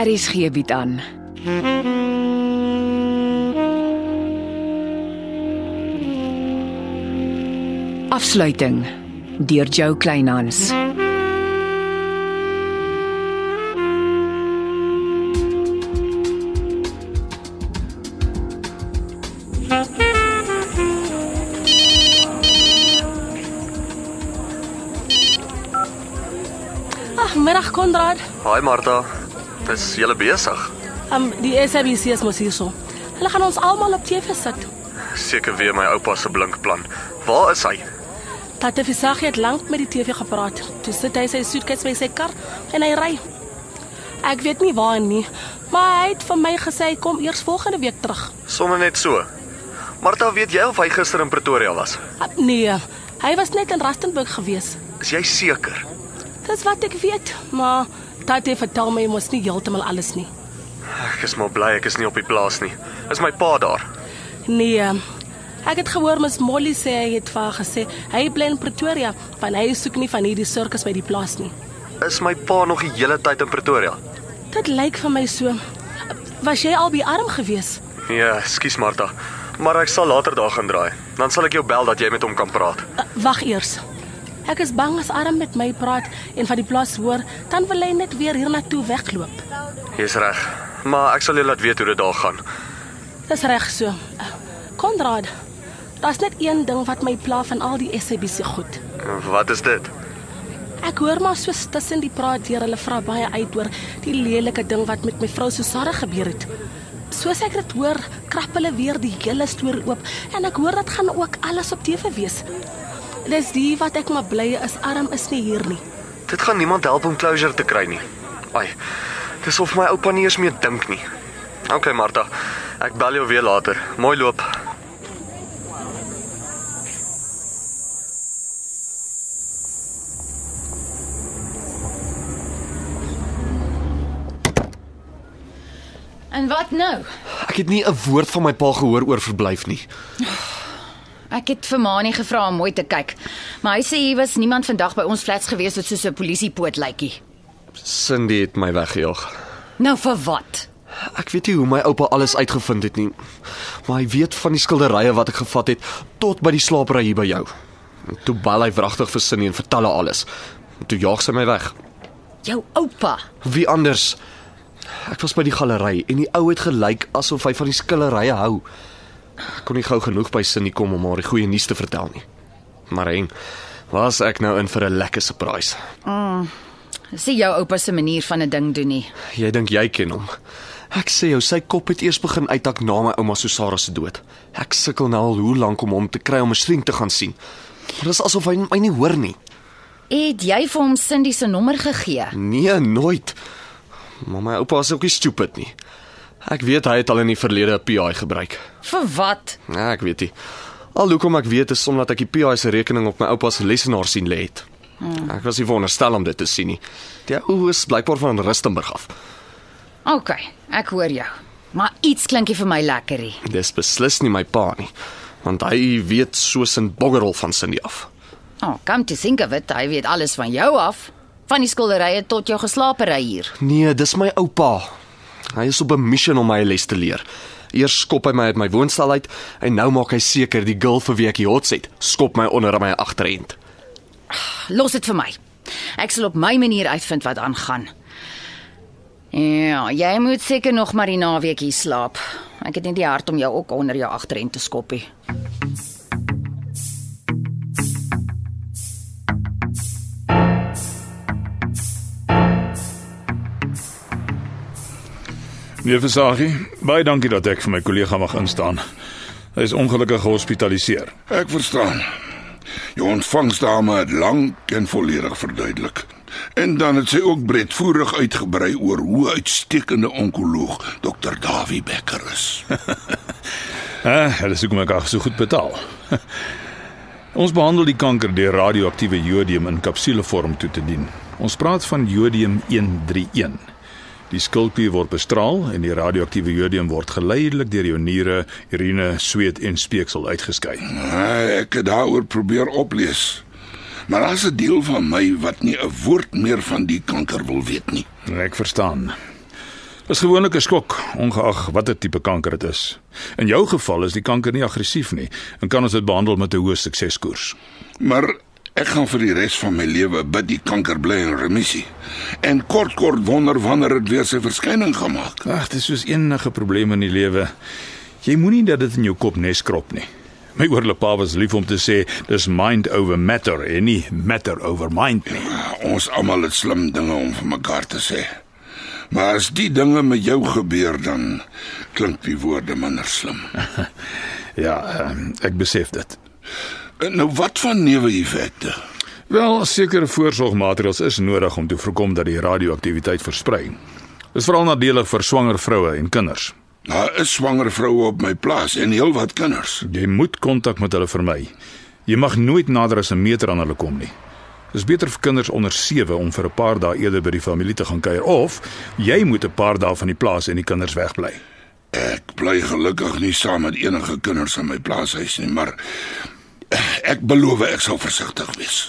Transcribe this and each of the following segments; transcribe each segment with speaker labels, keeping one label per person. Speaker 1: RSG Er bied aan. Afsluiting deur Jo Kleinhans.
Speaker 2: Ag, middag Konrad.
Speaker 3: Hi Martha. Is jy besig?
Speaker 2: Um die SABC is mos hierso. Hulle gaan ons almal op TV sit.
Speaker 3: Seker weer my oupa se blink plan. Waar is hy?
Speaker 2: Tate Visagie het lank met die TV gepraat. Toe sit hy sy suitcase by sy kar en hy ry. Ek weet nie waar nie, maar hy het vir my gesê hy kom eers volgende week terug.
Speaker 3: Somme net so. Martha, weet jy of hy gister in Pretoria was?
Speaker 2: Ah, Nee, hy was net in Rustenburg gewees.
Speaker 3: Is jy seker?
Speaker 2: Dis wat ek weet, maar Tate vertel my mos nie heeltemal alles nie.
Speaker 3: Ek is maar bly ek is nie op die plaas nie. Is my pa daar?
Speaker 2: Nee. Ek het gehoor mos Molly sê hy het vir haar gesê hy bly in Pretoria, want hy soek nie van hierdie sirkus by die plaas nie.
Speaker 3: Is my pa nog die hele tyd in Pretoria?
Speaker 2: Dit lyk vir my so. Was jy al by arm gewees?
Speaker 3: Nee, skus Martha. Maar ek sal later daar gaan draai. Dan sal ek jou bel dat jy met hom kan praat.
Speaker 2: Uh, Wag eers. Ek is bang as arm met my praat en van die plaas hoor, dan wil hy net weer hiernatoe wegloop.
Speaker 3: Jy's reg. Maar ek sal jou laat weet hoe dit daar gaan.
Speaker 2: Dis reg so. Uh, Konrad, daar's net een ding wat my pla van al die SABC goed.
Speaker 3: Wat is dit?
Speaker 2: Ek hoor maar soos tussen die praat deur hulle vra baie uit oor die lelike ding wat met my vrou Susanna gebeur het. Soos ek dit hoor, krap hulle weer die hele storie oop en ek hoor dit gaan ook alles op TV wees. Dis die wat ek maar bly is arm is nie hier nie.
Speaker 3: Dit gaan niemand help om closure te kry nie. Ai. Dis of my oupa nie eens meer dink nie. OK Martha. Ek bel jou weer later. Mooi loop.
Speaker 4: En wat nou?
Speaker 3: Ek het nie 'n woord van my pa gehoor oor verblyf nie.
Speaker 4: Ek het vir Maanie gevra om mooi te kyk, maar hy sê hier was niemand vandag by ons flats gewees wat soos 'n polisiepoot lykie.
Speaker 3: Cindy het my weggejaag.
Speaker 4: Nou vir wat?
Speaker 3: Ek weet nie hoe my oupa alles uitgevind het nie. Maar hy weet van die skilderye wat ek gevat het tot by die slaapry hier by jou. En Toe bel hy wragtig vir Cindy en vertel haar alles. En Toe jaag sy my weg.
Speaker 4: Jou oupa.
Speaker 3: Wie anders? Ek was by die galery en die ou het gelyk asof hy van die skillerye hou. Ek kon nie gou genoeg by Cindy kom om haar die goeie nuus te vertel nie. Maar en was ek nou in vir 'n lekker surprise.
Speaker 4: Sê jou oupa se manier van 'n ding doen nie.
Speaker 3: Jy dink jy ken hom. Ek sê jou, sy kop het eers begin uithak na my ouma Susara se dood. Ek sukkel nou al hoe lank om hom te kry om 'n shrink te gaan sien. Maar dit is asof hy my nie hoor nie.
Speaker 4: Het jy vir hom Cindy se nommer gegee?
Speaker 3: Nee, nooit. Maar my oupa is ook nie stupid nie. Ek weet hy het al in die verlede 'n PI gebruik.
Speaker 4: Vir wat?
Speaker 3: Ja, ek weet nie. Al hoekom ek weet is omdat ek die PI se rekening op my oupa se lesenaar sien lê het. Hmm. Ek was nie veronderstel om dit te sien nie. Die ou is blykbaar van Rustenburg af.
Speaker 4: OK, ek hoor jou. Maar iets klinkie vir my lekkerie.
Speaker 3: Dis beslis nie my pa nie, want hy weet soos 'n boggerel van Cindy af.
Speaker 4: Oh, kom te dink of dit, hy weet alles van jou af, van die skilderye tot jou geslaapery hier.
Speaker 3: Nee, dis my oupa. Hy is op 'n missie om my 'n les te leer. Eers skop hy my uit my woonstel uit en nou maak hy seker die girl vir wie ek die hots het, skop my onder aan my agterend.
Speaker 4: Los dit vir my. Ek sal op my manier uitvind wat aangaan. Ja, jy moet seker nog maar die naweek hier slaap. Ek het nie die hart om jou ook onder jou agterend te skoppie.
Speaker 5: Meneer Versagie, baie dankie dat ek vir my kollega mag instaan. Hy is ongelukkig gehospitaliseer.
Speaker 6: Ek verstaan. Jou ontvangsdame het lank en volledig verduidelik. En dan het sy ook breedvoerig uitgebrei oor hoe uitstekende onkoloog Dr. Dawie Becker is.
Speaker 5: Eh, dit is hoekom ek haar so goed betaal. Ons behandel die kanker deur radioaktiewe jodium in kapsulevorm toe te dien. Ons praat van jodium 131. Die skildklier word bestraal en die radioaktiewe jodium word geleidelik deur jou niere, urine, sweet en speeksel uitgeskei.
Speaker 6: Ah, ek het daaroor probeer oplees. Maar daar's 'n deel van my wat nie 'n woord meer van die kanker wil weet nie.
Speaker 5: Ek verstaan. Is gewoonlik 'n skok, ongeag watter tipe kanker dit is. In jou geval is die kanker nie aggressief nie en kan ons dit behandel met 'n hoë sukseskoers.
Speaker 6: Maar ek gaan vir die res van my lewe bid die kanker bly in remissie. En kort kort wonder wanneer dit weer sy verskyning gaan maak.
Speaker 5: Ag, dis soos enige probleem in die lewe. Jy moenie dat dit in jou kop neskrop nie. My oorlepa was lief om te sê dis mind over matter en nie matter over mind nie.
Speaker 6: Ons almal het slim dinge om vir mekaar te sê. Maar as die dinge met jou gebeur dan klink die woorde minder slim.
Speaker 5: Ja, ehm, ek besef dit.
Speaker 6: En nou wat van neeweffekte?
Speaker 5: Wel, sekere voorsorgmaatreëls is nodig om te voorkom dat die radioaktiwiteit versprei. Dis veral nadelig vir swanger vroue en kinders.
Speaker 6: Daar is swanger vroue op my plaas en heelwat kinders.
Speaker 5: Jy moet kontak met hulle vermy. Jy mag nooit nader as 'n meter aan hulle kom nie. Dis beter vir kinders onder 7 om vir 'n paar dae eerder by die familie te gaan kuier of jy moet 'n paar dae van die plaas en die kinders wegbly.
Speaker 6: Ek bly gelukkig nie saam met enige kinders in my plaashuis nie, maar eh, ek beloof ek sal versigtig wees.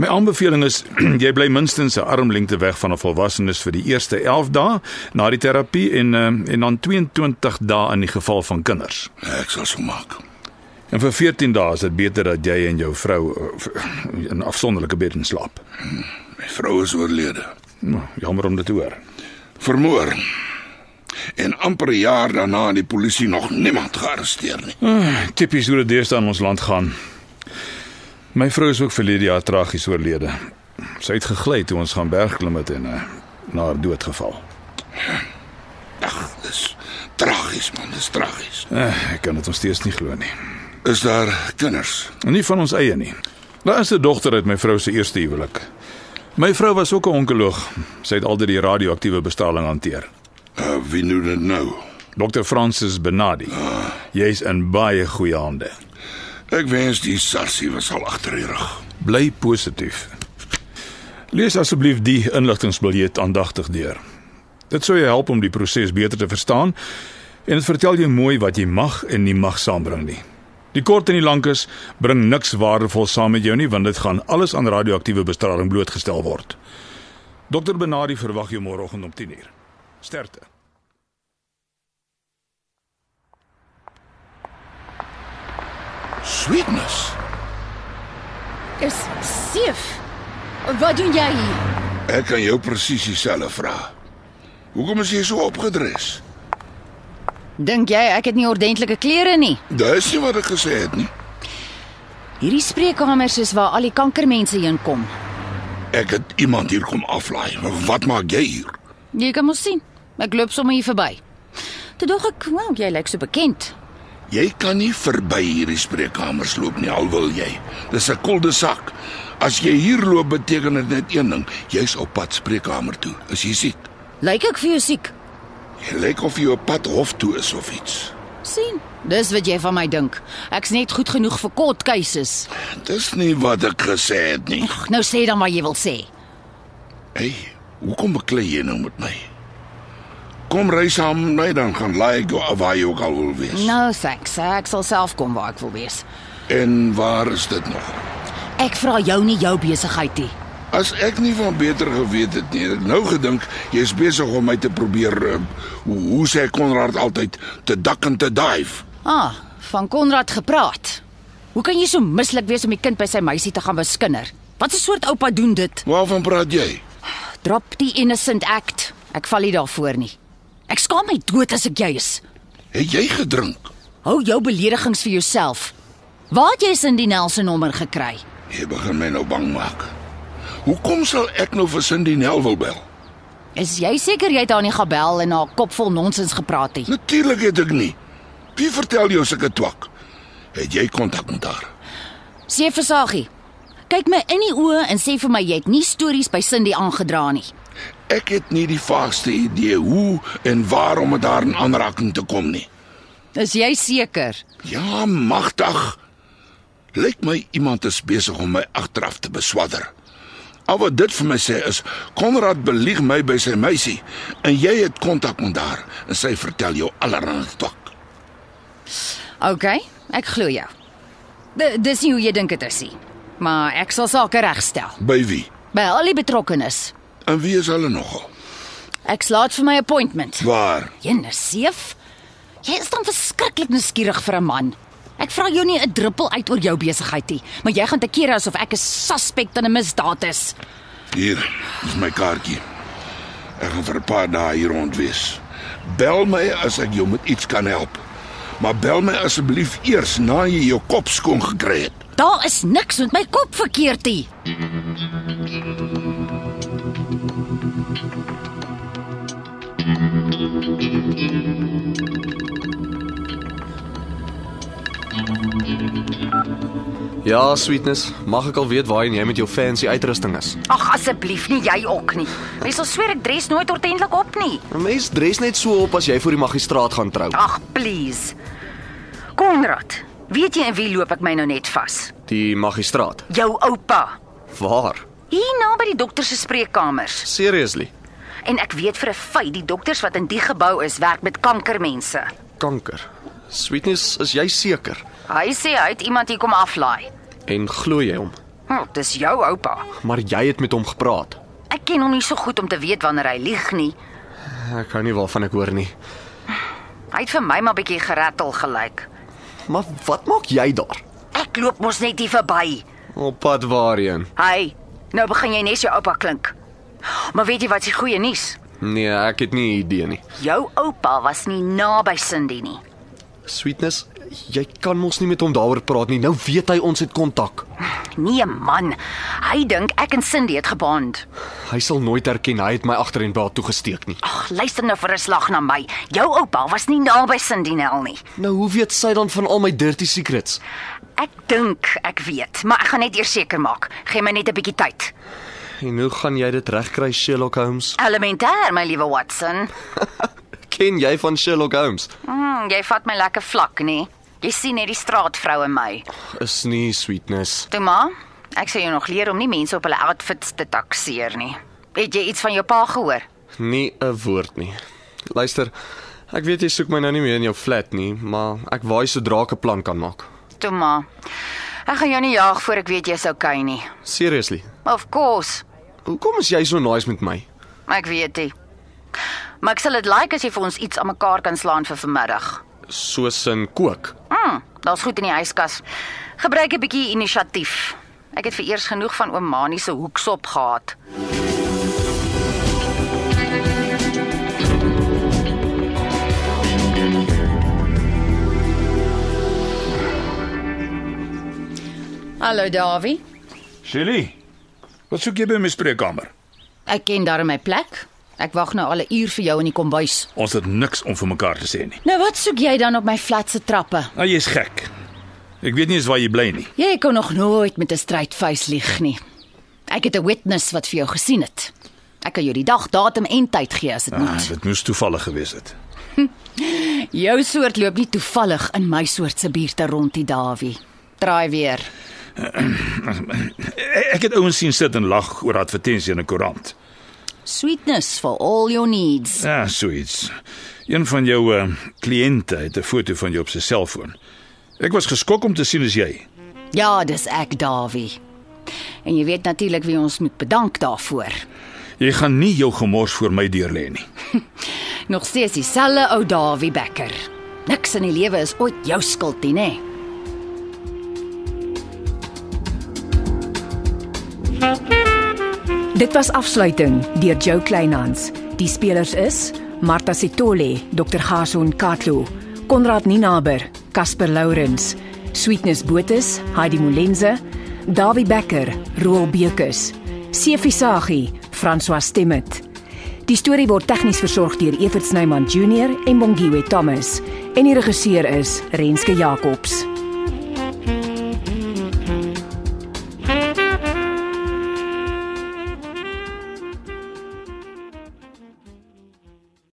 Speaker 5: My aanbeveling is jy bly minstens 'n armlengte weg van 'n volwassenes vir die eerste 11 dae na die terapie en ehm, en dan 22 dae in die geval van kinders.
Speaker 6: Ek sal so maak.
Speaker 5: En vir 14 dae is dit beter dat jy en jou vrou eh, in afsonderlike beddens slaap.
Speaker 6: My vrou is oorlede.
Speaker 5: Nou, Jammer om dit te hoor.
Speaker 6: Vermoor. En amper 'n jaar daarna het die polisie nog niemand gearresteer nie.
Speaker 5: Tipies hoe dit deesdae in ons land gaan. My vrou is ook verlede jaar tragies oorlede. Sy het gegly toe ons gaan bergklim het en uh, na haar dood geval.
Speaker 6: Ag, dis tragies man, dis tragies.
Speaker 5: Uh, ek kan dit nog steeds nie glo nie.
Speaker 6: Is daar kinders?
Speaker 5: En nie van ons eie nie. Daar is 'n dogter uit my vrou se eerste huwelik. My vrou was ook 'n onkoloog. Sy het altyd die radioaktiewe bestraling hanteer.
Speaker 6: Uh, wie doen dit nou?
Speaker 5: Dr. Francis Benadi. Jy's in baie goeie hande.
Speaker 6: Ek wens die sarsie was al agter die rug.
Speaker 5: Bly positief. Lees asseblief die inligtingbiljet aandagtig deur. Dit sou jou help om die proses beter te verstaan en dit vertel jou mooi wat jy mag en nie mag saambring nie. Die kort en die lank is bring niks waardevol saam met jou nie want dit gaan alles aan radioaktiewe bestraling blootgestel word. Dokter Benadi verwag jou môreoggend om 10:00. Sterkte.
Speaker 6: Sweetness.
Speaker 4: Is seef. Wat doen jy hier?
Speaker 6: Ek kan jou presies dieselfde vra. Hoekom is jy so opgedres?
Speaker 4: Dink jy ek het nie ordentlike klere nie?
Speaker 6: Dis nie wat ek gesê het nie.
Speaker 4: Hierdie spreekkamers is waar al die kankermense heen kom.
Speaker 6: Ek het iemand hier kom aflaai. Wat maak jy hier?
Speaker 4: Jy kan mos sien. Ek loop sommer hier verby. Toe dog ek, "Wel, jy lyk so bekend."
Speaker 6: Jy kan nie verby hierdie spreekkamers loop nie al wil jy. Dis 'n kolde sak. As jy hier loop beteken dit net een ding, jy's op pad spreekkamer toe. As jy siek,
Speaker 4: Lyk ek vir jou siek?
Speaker 6: jy lyk of jy op pad hof toe is of iets.
Speaker 4: sien? Dis wat jy van my dink. Ek's net goed genoeg vir kort keuses.
Speaker 6: Dis nie wat ek gesê het nie.
Speaker 4: Nou sê dan wat jy wil sê.
Speaker 6: Hey, hoekom beklei jy nou met my? Kom ry saam met my dan gaan laai ek jou af waar jy ook al wil wees.
Speaker 4: Nou, thanks. Ek sal self kom waar ek wil wees.
Speaker 6: En waar is dit nog?
Speaker 4: Ek vra jou nie jou besigheid nie.
Speaker 6: As ek nie van beter geweet het nie, het ek nou gedink jy's besig om my te probeer eh, hoe, hoe sê Konrad altyd te dak en te dive.
Speaker 4: Ah, van Konrad gepraat. Hoe kan jy so mislik wees om die kind by sy meisie te gaan beskinder? Wat 'n soort oupa doen dit?
Speaker 6: Waarvan praat jy?
Speaker 4: Drop die innocent act. Ek val nie daarvoor nie. Ek skaam my dood as ek jy is.
Speaker 6: Het jy gedrink?
Speaker 4: Hou jou beledigings vir jouself. Waar het jy Cindy Nelson nommer gekry?
Speaker 6: Jy begin my nou bang maak. Hoekom sal ek nou vir Cindy Nelwil bel?
Speaker 4: Is jy seker jy het haar nie gebel en haar kop vol nonsens gepraat nie?
Speaker 6: Natuurlik het ek nie. Wie vertel jou sulke twak? Het jy kontak met haar?
Speaker 4: Sê vir Saggie. Kyk my in die oë en sê vir my jy het nie stories by Cindy aangedra nie.
Speaker 6: Ek het nie die vaagste idee hoe en waarom dit haar in aanraking te kom nie.
Speaker 4: Is jy seker?
Speaker 6: Ja, magtig. Lyk my iemand is besig om my agteraf te beswadder. Al wat dit vir my sê is Konrad belieg my by sy meisie en jy het kontak met haar en sy vertel jou allerlei stok.
Speaker 4: OK, ek glo jou. D dis nie hoe jy dink dit is nie. Maar ek sal sake regstel.
Speaker 6: By wie?
Speaker 4: By al die betrokkenes.
Speaker 6: En wie is hulle nogal?
Speaker 4: Ek slaat vir my appointment.
Speaker 6: Waar?
Speaker 4: Jene seef. Jy is dan verskriklik nuuskierig vir 'n man. Ek vra jou nie 'n druppel uit oor jou besigheid nie, maar jy gaan te kere asof ek 'n suspek in 'n misdaad is.
Speaker 6: Hier, dis my kaartjie. Ek gaan vir 'n paar dae hier rond wees. Bel my as ek jou met iets kan help. Maar bel my asseblief eers na jy jou kop skoon gekry het.
Speaker 4: Daar is niks met my kop verkeerd nie.
Speaker 3: Ja, sweetness, mag ek al weet waarheen jy met jou fancy uitrusting is?
Speaker 4: Ag asseblief nie jy ook nie. Mens sal sweer ek dres nooit ordentlik op nie.
Speaker 3: 'n Nou, Mens dres net so op as jy voor die magistraat gaan trou.
Speaker 4: Ag please. Konrad, weet jy en wie loop ek my nou net vas?
Speaker 3: Die magistraat.
Speaker 4: Jou oupa.
Speaker 3: Waar?
Speaker 4: Hier naby die dokter se spreekkamers.
Speaker 3: Seriously?
Speaker 4: En ek weet vir 'n feit die dokters wat in die gebou is, werk met kankermense.
Speaker 3: Kanker. Sweetness, is jy seker?
Speaker 4: Hy sê hy het iemand hier kom aflaai.
Speaker 3: En glo jy hom?
Speaker 4: Hm, dis jou oupa.
Speaker 3: Maar jy het met hom gepraat.
Speaker 4: Ek ken hom nie so goed om te weet wanneer hy lieg nie.
Speaker 3: Ek hou nie waarvan ek hoor nie.
Speaker 4: Hy het vir my maar bietjie gerattel gelyk.
Speaker 3: Maar wat maak jy daar?
Speaker 4: Ek loop mos net hier verby.
Speaker 3: Op pad waarheen?
Speaker 4: Hy, nou begin jy net so oupa klink. Maar weet jy wat se goeie nuus?
Speaker 3: Nee, ek het nie 'n idee nie.
Speaker 4: Jou oupa was nie naby Cindy nie.
Speaker 3: Sweetness, jy kan mos nie met hom daaroor praat nie. Nou weet hy ons het kontak.
Speaker 4: Nee man, hy dink ek en Cindy het gebond.
Speaker 3: Hy sal nooit erken hy het my agter en baat toegesteek nie. Ah,
Speaker 4: Ag, luister nou vir 'n slag na my. Jou oupa was nie naby Cindy Nel nie.
Speaker 3: Nou hoe weet sy dan van al my dirty secrets?
Speaker 4: Ek dink ek weet, maar ek gaan net eers seker maak. Gee my net 'n bietjie tyd.
Speaker 3: En hoe gaan jy dit regkry, Sherlock Holmes?
Speaker 4: Elementêr, my liewe Watson.
Speaker 3: Ken jy van Sherlock Holmes?
Speaker 4: Mm, jy vat my lekker vlak, nê? Jy sien net die straatvrou in my.
Speaker 3: Is nie sweetness.
Speaker 4: Toe maar, ek sê jou nog leer om nie mense op hulle outfits te takseer nie. Het jy iets van jou pa gehoor?
Speaker 3: Nie 'n woord nie. Luister, ek weet jy soek my nou nie meer in jou flat nie, maar ek waai sodra ek 'n plan kan maak.
Speaker 4: Toe maar. Ek gaan jou nie jaag voor ek weet jy's okay nie.
Speaker 3: Seriously.
Speaker 4: Of course.
Speaker 3: Hoekom is jy so nice met my?
Speaker 4: Ek weet dit. Maar ek sal dit like as jy vir ons iets aan mekaar kan slaan vir vanmiddag.
Speaker 3: Soos in kook.
Speaker 4: Mm, daar's goed in die yskas. Gebruik 'n bietjie inisiatief. Ek het vereers genoeg van oom Manie se hoeksop gehad. Hallo Dawie.
Speaker 5: Shelly, wat soek jy by my spreekkamer?
Speaker 4: Ek ken daar my plek. Ek wag nou al 'n uur vir jou in die kombuis.
Speaker 5: Ons het niks om vir mekaar te sê nie.
Speaker 4: Nou wat soek jy dan op my flat se trappe?
Speaker 5: Nou jy's gek. Ek weet nie eens waar jy bly nie.
Speaker 4: Jy kon nog nooit met 'n strydvuis lieg nie. Ek het 'n witness wat vir jou gesien het. Ek kan jou die dag, datum en tyd gee as dit
Speaker 5: Ah,
Speaker 4: moet.
Speaker 5: dit moes toevallig gewees het.
Speaker 4: Jou soort loop nie toevallig in my soort se buurte rond die Dawie. Draai weer.
Speaker 5: Ek ek het ouens sien sit en lag oor advertensie in 'n koerant.
Speaker 4: Sweetness for all your needs.
Speaker 5: Ja, so iets. Een van jou uh, kliënte het 'n foto van jou op sy selfoon. Ek was geskok om te sien as jy.
Speaker 4: Ja, dis ek Dawie. En jy weet natuurlik wie ons moet bedank daarvoor.
Speaker 5: Jy gaan nie jou gemors voor my deur lê nie.
Speaker 4: Nog steeds dieselfde ou Dawie Becker. Niks in die lewe is ooit jou skuld nie, nê?
Speaker 1: Dit was afsluiting deur Jo Kleinhans. Die spelers is Martha Sitole, Dr. Gason Katlo, Konrad Ninaber, Casper Lourens, Sweetness Botus, Heidi Molenze, Dawie Becker, Roel Bekus, Sefi Sagie, François Stemmet. Die storie word tegnies versorg deur Evert Snyman Junior en Bongwe Thomas en die regisseur is Renske Jacobs.